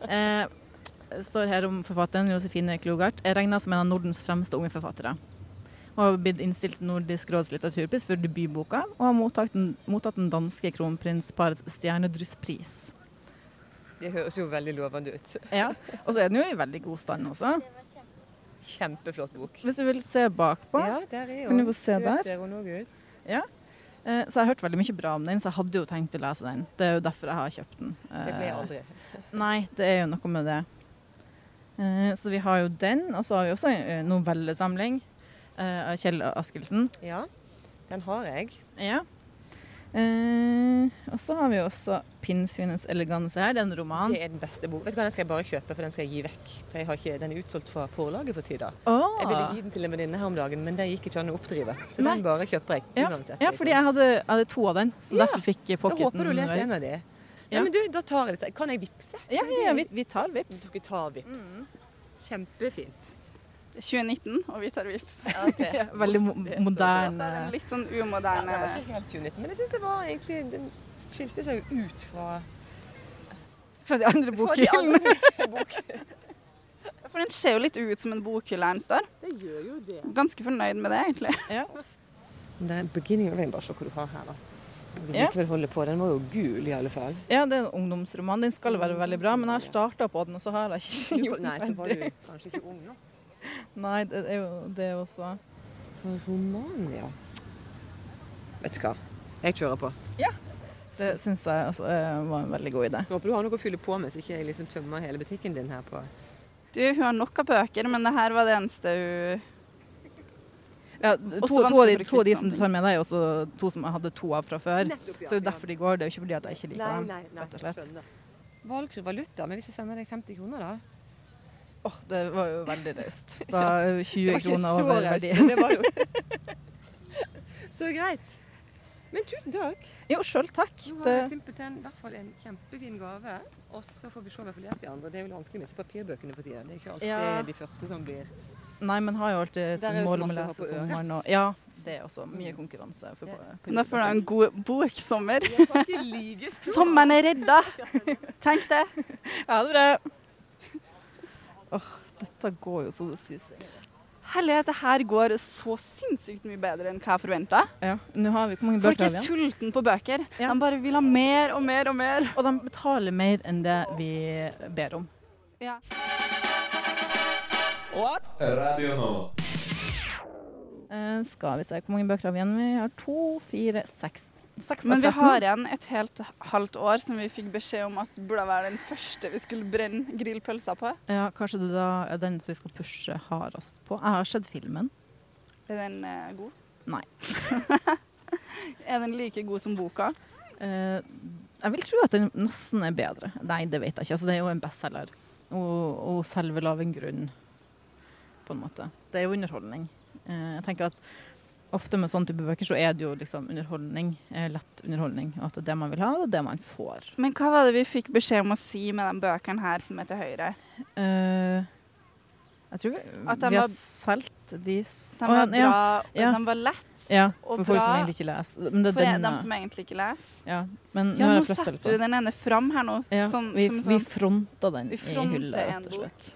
Speaker 1: Det eh, står her om forfatteren Josefine Klogart. Jeg regner som en av Nordens fremste unge forfattere. Hun har blitt innstilt til Nordisk råds litteraturpris for debutboka, og har mottatt den, mottatt den danske kronprinsparets stjernedrysspris.
Speaker 16: Det høres jo veldig lovende ut.
Speaker 1: Ja, og så er den jo i veldig god stand også.
Speaker 16: Kjempeflott bok.
Speaker 1: Hvis du vil se bakpå,
Speaker 16: Ja, der er
Speaker 1: kan du
Speaker 16: hun.
Speaker 1: gå og se
Speaker 16: Søt
Speaker 1: der.
Speaker 16: ser hun også ut.
Speaker 1: Ja. Eh, Så jeg har hørt veldig mye bra om den, så jeg hadde jo tenkt å lese den. Det er jo derfor jeg har kjøpt den.
Speaker 16: Det ble jeg
Speaker 1: Eh,
Speaker 16: aldri.
Speaker 1: Nei, det er jo noe med det. Eh, Så vi har jo den, og så har vi også en eh, novellesamling eh, av Kjell Askelsen.
Speaker 16: Ja, den har jeg.
Speaker 1: Ja. Eh, og så har vi jo også 'Pinnsvinets eleganse' her. Det er en roman.
Speaker 16: Det er den beste boken. Vet du hva, Den skal jeg bare kjøpe, for den skal jeg gi vekk. For jeg har ikke, Den er utsolgt fra forlaget for tida.
Speaker 1: Åh.
Speaker 16: Jeg ville gi den til en venninne her om dagen, men det gikk ikke an å oppdrive. Så
Speaker 1: Nei.
Speaker 16: den bare kjøper jeg.
Speaker 1: Ja,
Speaker 16: uansett,
Speaker 1: ja,
Speaker 16: liksom.
Speaker 1: fordi jeg hadde, jeg hadde to av den, så
Speaker 16: Ja,
Speaker 1: derfor fikk eh,
Speaker 16: Jeg
Speaker 1: pocketen
Speaker 16: håper du leser en av de. Ja,
Speaker 1: Ja.
Speaker 16: men du, da tar jeg det. Kan jeg vippse?
Speaker 1: Ja, ja, ja, vi, vi tar vips.
Speaker 16: Du skal ta vips. Kjempefint.
Speaker 2: 2019, og vi tar vips.
Speaker 1: Ja, veldig mo moderne.
Speaker 2: Litt sånn
Speaker 16: Ja, det var
Speaker 2: umoderne.
Speaker 16: ikke helt 2019, men jeg syns det var egentlig Den skilte seg jo ut fra
Speaker 1: Fra de andre
Speaker 16: Fra de andre bokhyllene.
Speaker 2: For den ser jo litt ut som en bokhylle her den står.
Speaker 16: Det gjør jo det.
Speaker 2: Ganske fornøyd med det, egentlig.
Speaker 16: Men det er beginning of Rain, bare se hva du har her, da. Du vil
Speaker 1: Ja.
Speaker 16: likevel holde på. Den var jo gul, i alle fall.
Speaker 1: Ja, det er en ungdomsroman. Den skal være veldig bra, men jeg har starta på den, og så har jeg ikke gjort
Speaker 16: Nei, så var du
Speaker 1: ferdig.
Speaker 16: kanskje ikke ung nå.
Speaker 1: Nei, det er jo det også.
Speaker 16: Roman, ja. Vet du hva, jeg kjører på.
Speaker 1: Det syns jeg altså, eh, var en veldig god idé.
Speaker 16: Jeg håper du har noe å fylle på med, så ikke jeg liksom tømmer hele butikken din her på
Speaker 2: Du, hun har nok av bøker, men det her var det eneste hun
Speaker 1: Ja, to,
Speaker 2: Også
Speaker 1: to, av de,
Speaker 2: vanskelig for
Speaker 1: to av
Speaker 2: å
Speaker 1: de
Speaker 2: kvitte
Speaker 1: som du tar med deg, er også to som jeg hadde to av fra før.
Speaker 16: Nettopp, ja,
Speaker 1: så det er jo
Speaker 16: ja.
Speaker 1: derfor de går. Det er jo ikke fordi at jeg ikke liker dem.
Speaker 16: Nei, nei, nei,
Speaker 1: rett og slett.
Speaker 16: skjønner. Valgfri valuta, men hvis jeg sender deg 50 kroner, da?
Speaker 1: Åh, det var jo veldig raust. Da er jo 20
Speaker 16: Det var ikke
Speaker 1: kroner
Speaker 16: så
Speaker 1: over
Speaker 16: raust,
Speaker 1: verdien.
Speaker 16: men det var jo- Så greit. Men tusen takk.
Speaker 1: Jo, sjøl takk.
Speaker 16: Nå har jeg
Speaker 1: Det,
Speaker 16: simpelthen i hvert fall en kjempefin gave. Og så får vi se om jeg får lest de andre. Det er jo vanskelig med disse papirbøkene for tida. Det er ikke alltid
Speaker 1: Ja.
Speaker 16: de første som blir
Speaker 1: Nei, men har jo alltid
Speaker 2: Der er
Speaker 1: som
Speaker 2: det så
Speaker 1: mål om å
Speaker 2: masse å ha
Speaker 1: lese
Speaker 2: på øret.
Speaker 1: sommeren og Ja, det er også mye konkurranse. For, på- på
Speaker 2: Men Da får du en god boksommer.
Speaker 1: like så.
Speaker 2: Sommeren er redda! Tenk det.
Speaker 1: Ha det bra. Åh, dette går jo så det suser.
Speaker 2: Herlighet, det her går så sinnssykt mye bedre enn hva jeg forventa.
Speaker 1: Ja, nå har vi, hvor mange
Speaker 2: Folk
Speaker 1: bøker
Speaker 2: er
Speaker 1: har vi? igjen?
Speaker 2: sultne på bøker. De bare vil ha mer og mer og mer.
Speaker 1: Og de betaler mer enn det vi ber om.
Speaker 2: Ja.
Speaker 4: Radio Nova.
Speaker 1: Eh, skal vi se hvor mange bøker har vi igjen? Vi har to, fire, seks. Seks av
Speaker 2: Men vi
Speaker 1: 13.
Speaker 2: har igjen et helt halvt år som vi fikk beskjed om at burde være den første vi skulle brenne grillpølser på.
Speaker 1: Ja, kanskje det da er den som vi skal pushe hardest på. Jeg har sett filmen.
Speaker 2: Er den eh, god?
Speaker 1: Nei.
Speaker 2: er den like god som boka?
Speaker 1: Eh, jeg vil tro at den nesten er bedre. Nei, det vet jeg ikke. Altså, det er jo en bestselger. Og, og selve lav en grunn, på en måte. Det er jo underholdning. Eh, jeg tenker at ofte med sånne type bøker så er det jo liksom underholdning. eh, lett underholdning. Og at det er det man vil ha, og det er det man får.
Speaker 2: Men hva var det vi fikk beskjed om å si med de bøkene her som er til høyre?
Speaker 1: Eh, jeg tror vi,
Speaker 2: At de
Speaker 1: vi har
Speaker 2: var-
Speaker 1: solgt de s- Å,
Speaker 2: De var,
Speaker 1: ja, ja,
Speaker 2: bra,
Speaker 1: ja.
Speaker 2: de var lett
Speaker 1: Ja,
Speaker 2: og
Speaker 1: for folk som
Speaker 2: bra
Speaker 1: egentlig ikke leser. Men det er
Speaker 2: for
Speaker 1: denne-
Speaker 2: dem som egentlig ikke leser.
Speaker 1: Ja, men nå
Speaker 2: ja,
Speaker 1: har
Speaker 2: nå
Speaker 1: jeg flyttet
Speaker 2: setter
Speaker 1: litt på
Speaker 2: du
Speaker 1: den.
Speaker 2: den ene fram her nå.
Speaker 1: Ja,
Speaker 2: som,
Speaker 1: vi,
Speaker 2: som
Speaker 1: vi
Speaker 2: sånn-
Speaker 1: fronta den
Speaker 2: Vi
Speaker 1: i
Speaker 2: fronter
Speaker 1: hylla,
Speaker 2: en
Speaker 1: rett og slett.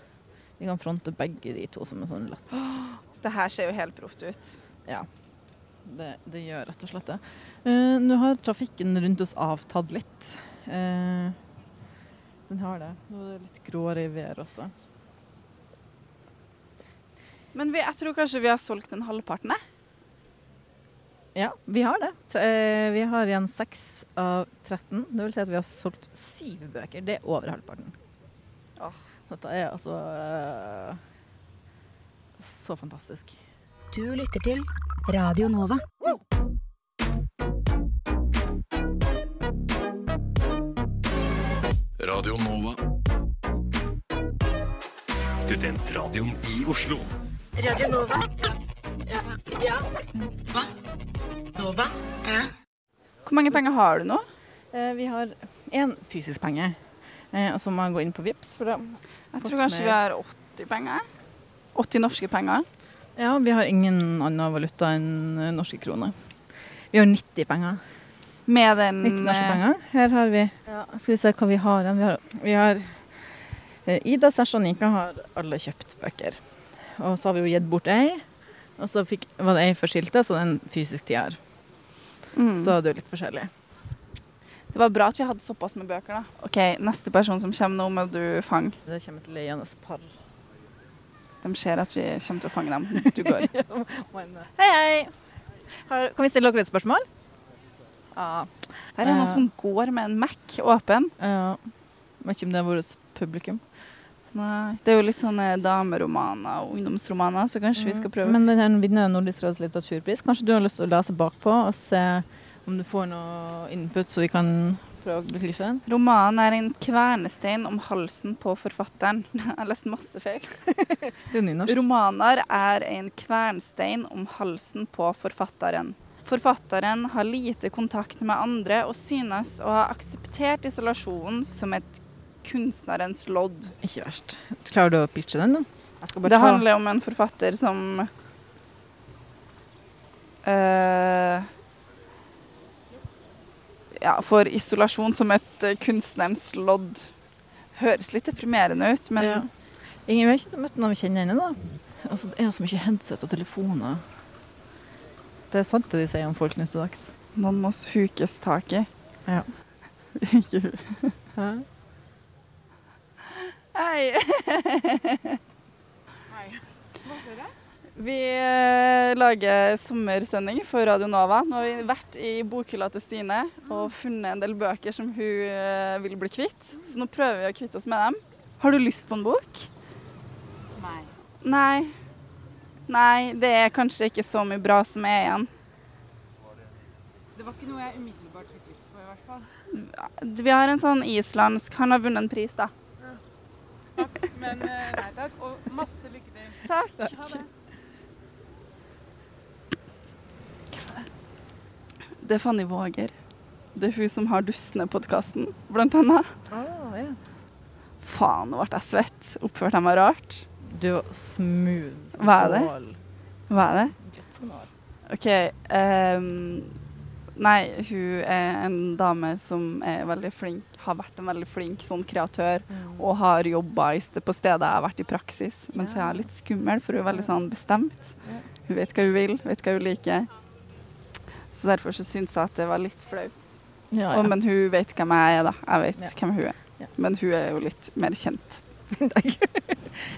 Speaker 1: Vi kan fronte begge de to som er sånn lett.
Speaker 2: Det her ser jo helt proft ut.
Speaker 1: Ja. Det, det gjør rett og slett det. Eh, nå har trafikken rundt oss avtatt litt. Eh, den har det. Nå er det litt gråere i været også.
Speaker 2: Men vi, jeg tror kanskje vi har solgt den halvparten, jeg.
Speaker 1: Ja, vi har det. Tre, eh, vi har igjen seks av 13. Det vil si at vi har solgt syv bøker. Det er over halvparten. Dette er altså eh, så fantastisk.
Speaker 17: Du lytter til Radio Nova.
Speaker 14: Radio Nova. Studentradioen i Oslo.
Speaker 17: Radio Nova. Ja. ja. Hva? Nova?
Speaker 2: Hvor mange penger har du nå?
Speaker 1: Eh, vi har én fysisk penge, eh, og så må jeg gå inn på Vipps. For jeg
Speaker 2: Jeg tror kanskje vi har 80 penger. 80 norske penger.
Speaker 1: Ja, vi har ingen annen valuta enn eh, norske kroner. Vi har 90 penger.
Speaker 2: Med den
Speaker 1: 90 norske
Speaker 2: eh,
Speaker 1: penger. Her har vi ja, Skal vi se hva vi har igjen. Vi har, vi har eh, Ida Sashanika har alle kjøpt bøker. Og så har vi jo gitt bort ei. Og så fikk, var det ei for skiltet, så det er en fysisk tier.
Speaker 2: Mm.
Speaker 1: Så det er jo litt forskjellig.
Speaker 2: Det var bra at vi hadde såpass med bøker, da. OK, neste person som kommer nå, må du fange.
Speaker 1: Det kommer et leiende par.
Speaker 2: De ser at vi kommer til å fange dem. Du går.
Speaker 1: Hei, hei! Har, kan vi stille dere et spørsmål? Ja.
Speaker 2: Her er det noen som går med en Mac åpen.
Speaker 1: Ja. Vet ikke om det er vårt publikum.
Speaker 2: Nei. Det er jo litt sånne dameromaner og ungdomsromaner, så kanskje
Speaker 1: Mm,
Speaker 2: vi skal prøve.
Speaker 1: Men den her vinner jo Nordisk råds litteraturpris. Kanskje du har lyst til å lese bakpå og se om du får noe input, så vi kan prøve å belyse den?
Speaker 2: Romanen er en kvernestein om halsen på forfatteren. Jeg har lest masse feil.
Speaker 1: Det er jo nynorsk.
Speaker 2: Romaner er en kvernstein om halsen på forfatteren. Forfatteren har lite kontakt med andre og synes å ha akseptert isolasjonen som et kunstnerens lodd.
Speaker 1: Ikke verst. Klarer du å pitche den, da? Jeg skal bare
Speaker 2: Det
Speaker 1: ta-
Speaker 2: handler om en forfatter som eh, ja, får isolasjon som et eh, kunstnerens lodd. Høres litt deprimerende ut, men
Speaker 1: Ja. Ingen vi har ikke møtt noen vi kjenner ennå, da. Altså, det er så mye headset og telefoner. Det er sant det de sier om folk nå til dags.
Speaker 2: noen må hukes tak i.
Speaker 1: Ja.
Speaker 2: Ikke hun.
Speaker 1: Hæ?
Speaker 2: Hei. Vi eh, lager sommersending for Radio Nova. Nå har vi vært i bokhylla til Stine og funnet en del bøker som hun eh, vil bli kvitt. Så nå prøver vi å kvitte oss med dem. Har du lyst på en bok?
Speaker 1: Nei.
Speaker 2: Nei. Nei, det er kanskje ikke så mye bra som er igjen.
Speaker 18: Det var ikke noe jeg umiddelbart fikk lyst på, i hvert fall.
Speaker 2: Vi har en sånn islandsk Han har vunnet en pris, da.
Speaker 18: Men eh, nei takk, og masse lykke til.
Speaker 2: Takk.
Speaker 18: Ha det.
Speaker 2: Det er Fanny Våger. Det er hun som har Dustene-podkasten, blant annet.
Speaker 1: Å, Ah, ja.
Speaker 2: Faen, nå ble jeg svett. Oppførte jeg meg rart?
Speaker 1: Du var smooth. som
Speaker 2: Hva er det?
Speaker 1: bål.
Speaker 2: Hva er det?
Speaker 1: Glatt som nål.
Speaker 2: OK ehm, Nei, hun er en dame som er veldig flink, har vært en veldig flink sånn kreatør,
Speaker 1: Mm.
Speaker 2: og har jobba på stedet jeg har vært i praksis. Mens jeg er litt skummel, for hun er veldig sånn bestemt. Hun vet hva hun vil, vet hva hun liker. Så derfor så syns jeg at det var litt flaut.
Speaker 1: Ah, Ja, ja.
Speaker 2: Og, men hun vet hvem jeg er, da. Jeg vet
Speaker 1: Ja.
Speaker 2: hvem hun er.
Speaker 1: Ja.
Speaker 2: Men hun er jo litt mer kjent.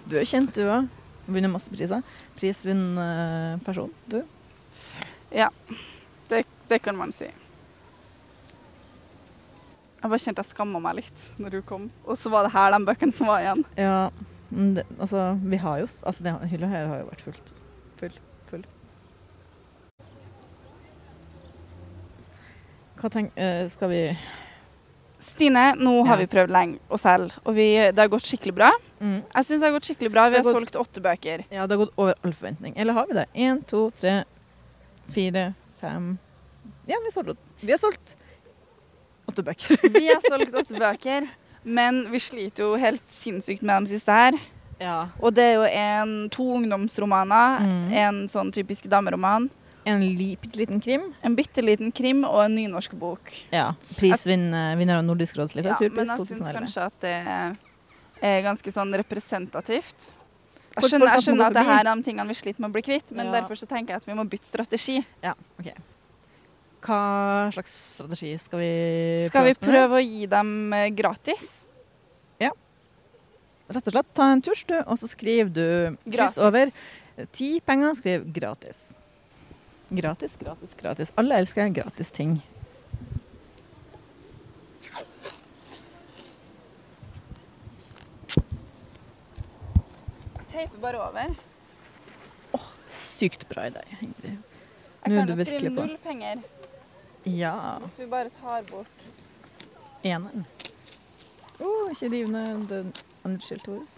Speaker 1: Du er kjent, du òg. Vunnet masse priser. Prisvinnende eh, person, du.
Speaker 2: Ja, det, det kan man si. Jeg bare kjente jeg skamma meg litt når hun kom. Og så var det her de bøkene som var igjen.
Speaker 1: Ja, men det, altså, vi har jo s- Altså, den hylla her har jo vært fullt. Full, full. Hva tenk... eh, skal vi
Speaker 2: Stine, nå har
Speaker 1: Ja.
Speaker 2: vi prøvd lenge å selge, og vi, det har gått skikkelig bra.
Speaker 1: Mm.
Speaker 2: Jeg syns det har gått skikkelig bra. Vi
Speaker 1: Det
Speaker 2: har
Speaker 1: har
Speaker 2: solgt åtte bøker.
Speaker 1: Ja, det har gått over all forventning. Eller har vi det? Én, to, tre, fire, fem Ja, vi, solgte, vi har solgt åtte bøker.
Speaker 2: Vi har solgt åtte bøker, men vi sliter jo helt sinnssykt med de siste her. Og det er jo en, to ungdomsromaner, en sånn typisk dameroman.
Speaker 1: En li, bitte liten krim.
Speaker 2: En bitte liten krim og en nynorsk bok.
Speaker 1: Ja. Prisvinner av Nordisk råds
Speaker 2: Ja, men
Speaker 1: litteraturpris
Speaker 2: jeg syns
Speaker 1: 2011.
Speaker 2: kanskje at det er ganske sånn representativt.
Speaker 1: For
Speaker 2: Jeg
Speaker 1: folk har
Speaker 2: skjønner,
Speaker 1: på
Speaker 2: jeg
Speaker 1: en måte
Speaker 2: skjønner at det her
Speaker 1: forbi.
Speaker 2: er de tingene vi sliter med å bli kvitt, men
Speaker 1: Ja.
Speaker 2: derfor så tenker jeg at vi må bytte strategi.
Speaker 1: Hva slags strategi skal vi
Speaker 2: Skal vi
Speaker 1: oss med?
Speaker 2: prøve å gi dem eh, gratis?
Speaker 1: Rett og slett ta en tusj, du, og så skriver du
Speaker 2: Gratis.
Speaker 1: kryss over. Ti penger, skriv gratis. Gratis, gratis, gratis. Alle elsker gratis ting.
Speaker 2: Teipe bare over.
Speaker 1: Sykt bra idé, Ingrid.
Speaker 2: Jeg
Speaker 1: Nå
Speaker 2: kan
Speaker 1: er du
Speaker 2: jo skrive
Speaker 1: virkelig på.
Speaker 2: null penger
Speaker 1: Ja.
Speaker 2: hvis vi bare tar bort
Speaker 1: Eneren. Å, ikke riv ned den andre skiltet vårt.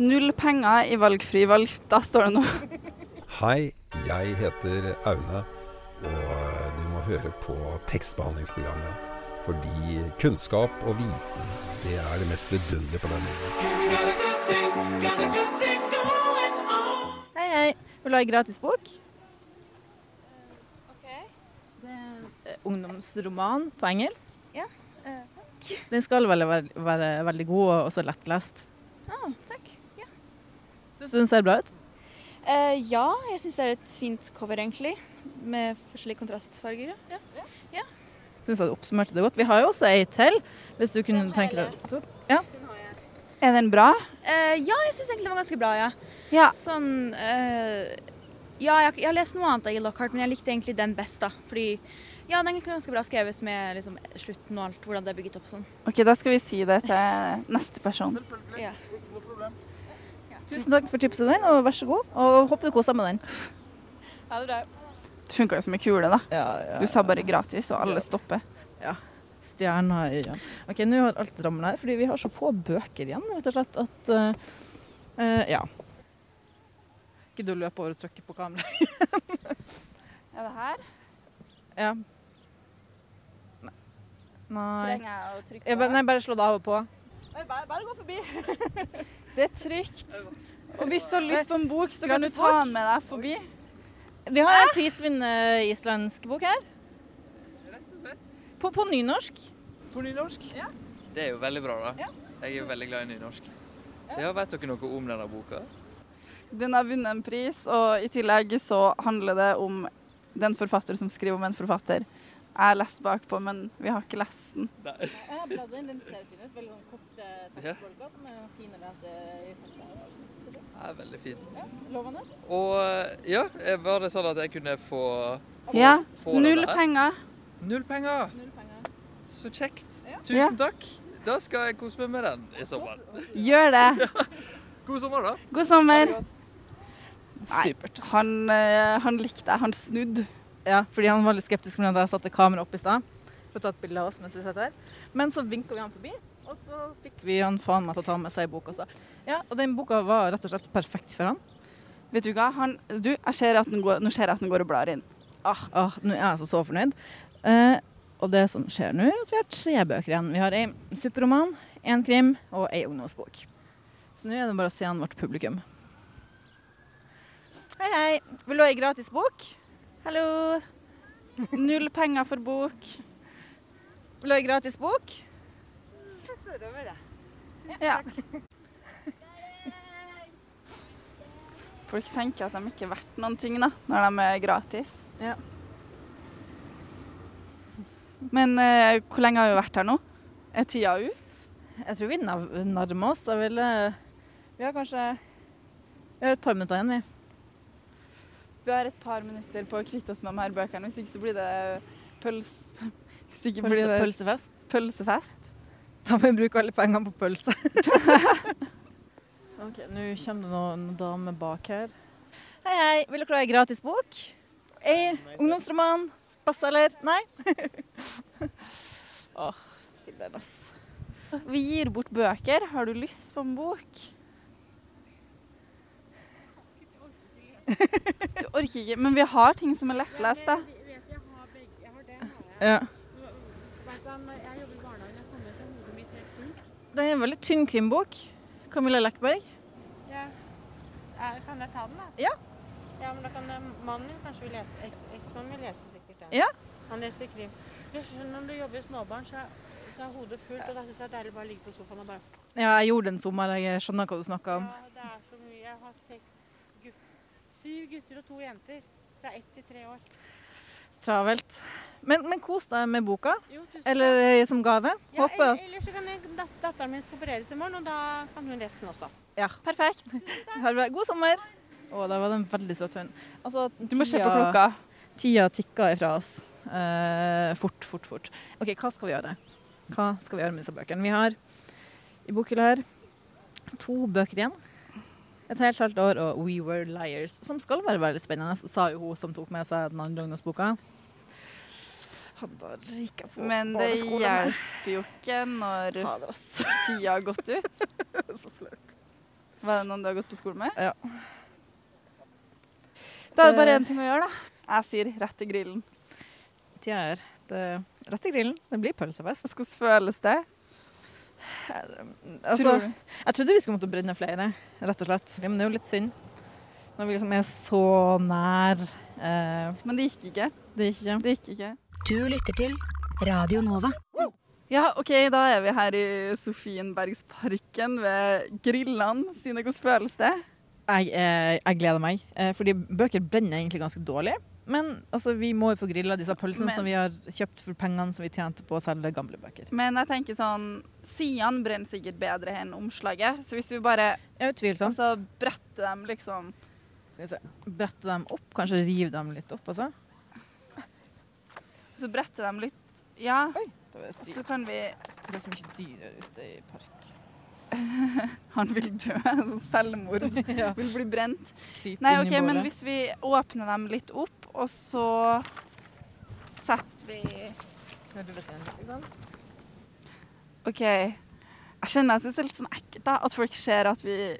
Speaker 2: null penger i valgfri valg. Da står det noe.
Speaker 19: Hei, jeg heter Aune, og du må høre på tekstbehandlingsprogrammet. Fordi kunnskap og viten, det er det mest vidunderlige på denne jorden.
Speaker 1: Hei, hei. Vil du ha ei gratisbok? Det er en eh, ungdomsroman på engelsk.
Speaker 12: Ja. eh,
Speaker 1: Den skal vel være, være veldig god og også lettlest.
Speaker 12: Ah, takk. Ja.
Speaker 1: Syns du den ser bra ut?
Speaker 12: Eh, ja, jeg syns det er et fint cover, egentlig. Med forskjellige kontrastfarger. Ja. Ja. Ja.
Speaker 1: Syns jeg du oppsummerte det godt. Vi har jo også ei til, hvis du kunne tenke deg ja.
Speaker 2: Er den bra?
Speaker 12: Eh, ja, jeg syns egentlig den var ganske bra, ja. Sånn eh, Ja, jeg, har ikke- jeg har lest noe annet av Ian Lockhart, men jeg likte egentlig den best, da. Fordi ja, den er egentlig ganske bra skrevet med liksom, slutten og alt, hvordan det er bygget opp og sånn.
Speaker 2: OK, da skal vi si det til neste person.
Speaker 12: Ja.
Speaker 1: Tusen takk for tipset din, og vær så god. Og håper du koser med den.
Speaker 12: Ha det bra.
Speaker 2: Det funka jo som ei kule, da.
Speaker 1: ja,
Speaker 2: Du sa bare gratis, og alle stopper.
Speaker 1: Ja. Stjerna i øynene. Ok, nå har alt ramlet her, fordi vi har så få bøker igjen, rett og slett, at eh, eh, Ja. Ikke du løper over og trykker på kameraet?
Speaker 2: Er det her?
Speaker 1: ja. Nei.
Speaker 2: Trenger jeg å trykke
Speaker 1: Ja,
Speaker 2: på?
Speaker 1: bare- nei, bare slå det av og på.
Speaker 12: Bare, gå forbi.
Speaker 2: Det er trygt. Og hvis du har lyst på en bok, så kan du
Speaker 1: Gratis
Speaker 2: ta
Speaker 1: bok.
Speaker 2: den med deg forbi.
Speaker 1: Vi har en prisvinnende islandsk bok her. På, på nynorsk. På nynorsk? Ja.
Speaker 20: Det er jo veldig bra, da. Jeg er jo veldig glad i nynorsk. Ja, vet dere noe om denne boka?
Speaker 2: Den har vunnet en pris, og i tillegg så handler det om den forfatter som skriver om en forfatter. Jeg har lest bakpå, men vi har ikke lest den.
Speaker 1: Jeg har bladd inn, den ser fin ut. Veldig sånn korte tekstbolker som er fine å lese i feltet.
Speaker 20: Det er veldig fint.
Speaker 1: Lovende.
Speaker 20: Og ja, var det sånn at jeg kunne få
Speaker 2: Ja,
Speaker 20: få denne
Speaker 2: null
Speaker 20: her?
Speaker 2: penger.
Speaker 20: Null penger! Så kjekt.
Speaker 2: Ja.
Speaker 20: Tusen takk. Da skal jeg kose meg med den i sommer.
Speaker 2: Gjør det.
Speaker 20: God sommer, da.
Speaker 2: God sommer. Nei,
Speaker 1: Supert.
Speaker 2: Han, eh, han likte deg. Han snudde.
Speaker 1: Ja, fordi han var litt skeptisk fordi jeg satte kamera opp i stad for å ta et bilde av oss mens vi satt her. Men så vinka vi han forbi, og så fikk vi han faen meg til å ta med seg boka også. Ja, og den boka var rett og slett perfekt for han.
Speaker 2: Vet du hva? Han, du, jeg ser at den går, nå ser jeg at den går og blar inn.
Speaker 1: Ah, ah, nå er jeg altså så fornøyd. Eh, Og det som skjer nå, er at vi har tre bøker igjen. Vi har ei supperoman, én krim og ei ungdomsbok. Så nå er det bare å se an vårt publikum. Hei, hei. Vil du ha ei gratis bok?
Speaker 2: Hallo. Null penger for bok.
Speaker 1: Vil du ha ei gratis bok?
Speaker 2: Ja. Folk tenker at de ikke er verdt noen ting da, når de er gratis.
Speaker 1: Ja.
Speaker 2: Men eh, hvor lenge har vi vært her nå? Er tida ut?
Speaker 1: Jeg tror vi nav- nærmer oss. Jeg vil, eh, vi har kanskje Vi har et par minutter igjen, vi.
Speaker 2: Vi har et par minutter på å kvitte oss med de her bøkene, hvis ikke så blir det pøls... Hvis ikke blir det
Speaker 1: pølsefest.
Speaker 2: pølsefest.
Speaker 1: Da må vi bruke alle pengene på pølse. Ok, Nå kommer det noen noen damer bak her. Hei, hei. Vil dere ha ei gratis bok? Ei ungdomsroman? Passe, eller? Nei? Åh, filler'n, ass.
Speaker 2: Vi gir bort bøker. Har du lyst på en bok? Du orker ikke, men vi har ting som er lettlest, da.
Speaker 18: Jeg
Speaker 1: Ja.
Speaker 18: jobber i barnehagen, jeg kommer så hodet mitt helt fullt.
Speaker 1: Det er en veldig tynn krimbok. Camilla Lackberg.
Speaker 18: Ja. Er- Kan jeg ta den, da?
Speaker 1: Ja.
Speaker 18: Ja, men da kan eh, mannen min kanskje vil lese, eks- eksmannen vil lese sikkert den.
Speaker 1: Ja.
Speaker 18: Han leser krim. Du skjønner, når du jobber i småbarn, så, er- så er hodet fullt, og da synes jeg det er deilig å bare ligge på sofaen og bare...
Speaker 1: Ja, jeg gjorde det en sommer. Jeg skjønner hva du snakker om.
Speaker 18: Ja, det er så mye. Jeg har seks gutt... syv gutter og to jenter. Fra ett til tre år.
Speaker 1: Travelt. Men, men kos deg med boka,
Speaker 18: Jo, tusen takk.
Speaker 1: eller eh, som gave.
Speaker 18: Ja,
Speaker 1: Håper
Speaker 18: eller,
Speaker 1: at
Speaker 18: ellers så kan jeg, dat datteren min skal opereres i morgen, og da kan hun lese den også.
Speaker 1: Ja.
Speaker 2: Perfekt.
Speaker 1: Ha det bra. God sommer. Å, der var det en veldig søt hund. Altså,
Speaker 2: Du må se på
Speaker 1: tida-
Speaker 2: klokka.
Speaker 1: Tida tikker ifra oss. Eh, fort, fort, fort. OK, hva skal vi gjøre? Hva skal vi gjøre med disse bøkene? Vi har i bokhylla her to bøker igjen. Et helt halvt år og We Were Liars, som skal være veldig spennende, sa jo hun som tok med seg den andre ungdomsboka. Han da ryker på
Speaker 2: Men det
Speaker 1: barneskolen.
Speaker 2: hjelper jo ikke når
Speaker 1: Fader, ass.
Speaker 2: tida har gått ut.
Speaker 1: Så flaut.
Speaker 2: Var det noen du har gått på skole med?
Speaker 1: Ja. Eh.
Speaker 2: Da er det bare én ting å gjøre, da. Jeg sier rett til grillen.
Speaker 1: Tida er det, rett i grillen. Det blir pølsefest.
Speaker 2: Hvordan føles det?
Speaker 1: Altså,
Speaker 2: Tror du?
Speaker 1: jeg trodde vi skulle måtte brenne flere, rett og slett. Men det er jo litt synd. Når vi liksom er så nær. Eh,
Speaker 2: Men det gikk ikke.
Speaker 1: Det gikk ikke.
Speaker 2: Det gikk ikke.
Speaker 17: Du lytter til Radio Nova.
Speaker 2: Ja, OK, da er vi her i Sofienbergsparken ved Grillene. Stine, hvordan føles det?
Speaker 1: Jeg, eh, jeg gleder meg. Eh, fordi bøker brenner egentlig ganske dårlig. Men altså, vi må jo få grilla disse pølsene
Speaker 2: Men-
Speaker 1: som vi har kjøpt for pengene som vi tjente på å selge gamle bøker.
Speaker 2: Men jeg tenker sånn Sidene brenner sikkert bedre enn omslaget, så hvis vi bare
Speaker 1: Det er utvilsomt.
Speaker 2: altså, bretter dem liksom
Speaker 1: Skal vi se. Brette dem opp, kanskje rive dem litt opp også.
Speaker 2: Så bretter dem litt Ja.
Speaker 1: det var et dyr.
Speaker 2: Så kan vi
Speaker 1: Det er så mye dyr her ute i park.
Speaker 2: Han vil dø. sånn Selvmord.
Speaker 1: Ja.
Speaker 2: Vil bli brent.
Speaker 1: Kryp
Speaker 2: Nei,
Speaker 1: inn i
Speaker 2: OK, men
Speaker 1: bålet.
Speaker 2: hvis vi åpner dem litt opp, og så setter vi
Speaker 1: Når du liksom? bestemmer, ikke sant?
Speaker 2: OK. Jeg kjenner jeg syns det er litt sånn ekkelt da, at folk ser at vi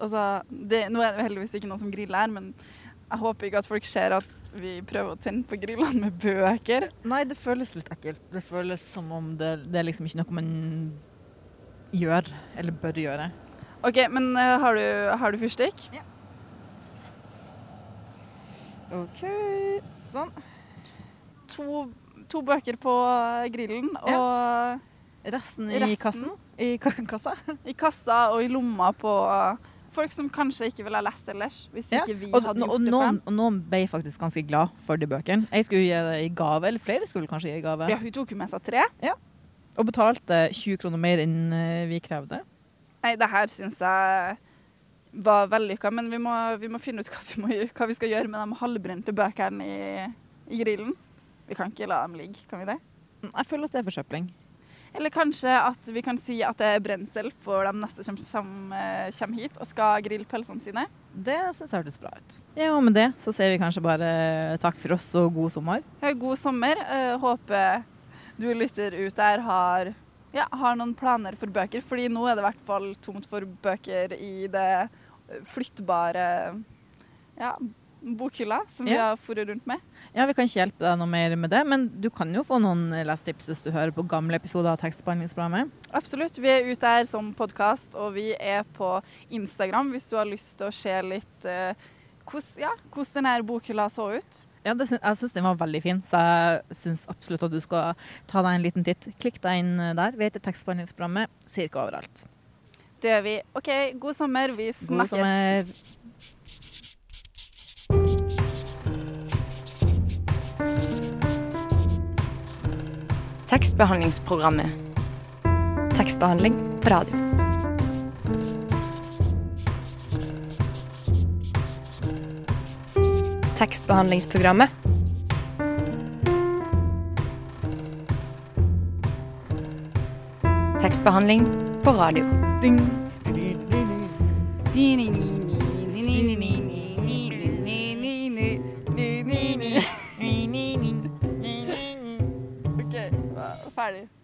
Speaker 2: Altså, det, nå er det jo heldigvis ikke noen som griller her, men jeg håper ikke at folk ser at vi prøver å tenne på grillene med bøker.
Speaker 1: Nei, det føles litt ekkelt. Det føles som om det, det er liksom ikke noe man gjør, eller bør gjøre.
Speaker 2: OK, men eh, har du, har du fyrstikk? Ja.
Speaker 1: OK. Sånn.
Speaker 2: To, to bøker på eh, grillen, og
Speaker 1: Resten i
Speaker 2: Resten.
Speaker 1: kassen. I ka- kassa.
Speaker 2: I kassa og i lomma på eh, folk som kanskje ikke ville ha lest ellers, hvis
Speaker 1: Ja,
Speaker 2: ikke vi
Speaker 1: og,
Speaker 2: hadde
Speaker 1: no-
Speaker 2: gjort
Speaker 1: og,
Speaker 2: det for
Speaker 1: noen,
Speaker 2: dem.
Speaker 1: og noen ble faktisk ganske glad for de bøkene. Jeg skulle gi det i gave, eller flere skulle kanskje gi i gave.
Speaker 2: Ja, hun tok jo med seg tre.
Speaker 1: Og betalte 20 kroner mer enn eh, vi krevde.
Speaker 2: Nei, det her syns jeg var vellykka, men vi må, vi må finne ut hva vi, må, gjø- hva vi skal gjøre med de halvbrente bøkene i, i grillen. Vi kan ikke la dem ligge, kan vi det?
Speaker 1: Mm, Jeg føler at det er forsøpling.
Speaker 2: Eller kanskje at vi kan si at det er brensel for de neste som, som eh, kommer hit og skal grille pølsene sine.
Speaker 1: Det syns jeg hørtes bra ut. Ja, og med det så sier vi kanskje bare takk for oss og god sommer.
Speaker 2: Ha en god sommer. Eh, håper du lytter ut der har, ja, har noen planer for bøker. Fordi nå er det i hvert fall tomt for bøker i det flyttbare ja, bokhylla som vi
Speaker 1: Ja.
Speaker 2: har foret rundt med.
Speaker 1: Ja, Vi kan ikke hjelpe deg noe mer med det, men du kan jo få noen lesetips hvis du hører på gamle episoder av Tekstbehandlingsprogrammet.
Speaker 2: Absolutt. Vi er ute her som podkast, og vi er på Instagram hvis du har lyst til å se litt eh, hvordan ja, hvordan denne her bokhylla så ut.
Speaker 1: Ja, det syns- Jeg syns den var veldig fin, så jeg syns absolutt at du skal ta deg en liten titt. Klikk deg inn eh, der. Vi heter Tekstbehandlingsprogrammet cirka overalt.
Speaker 2: Det gjør vi. OK, god sommer. Vi
Speaker 1: God
Speaker 2: snakkes.
Speaker 1: sommer.
Speaker 21: Tekstbehandlingsprogrammet. Tekstbehandling på radio. Tekstbehandlingsprogrammet. Tekstbehandling på radio.
Speaker 2: OK, hva- ferdig.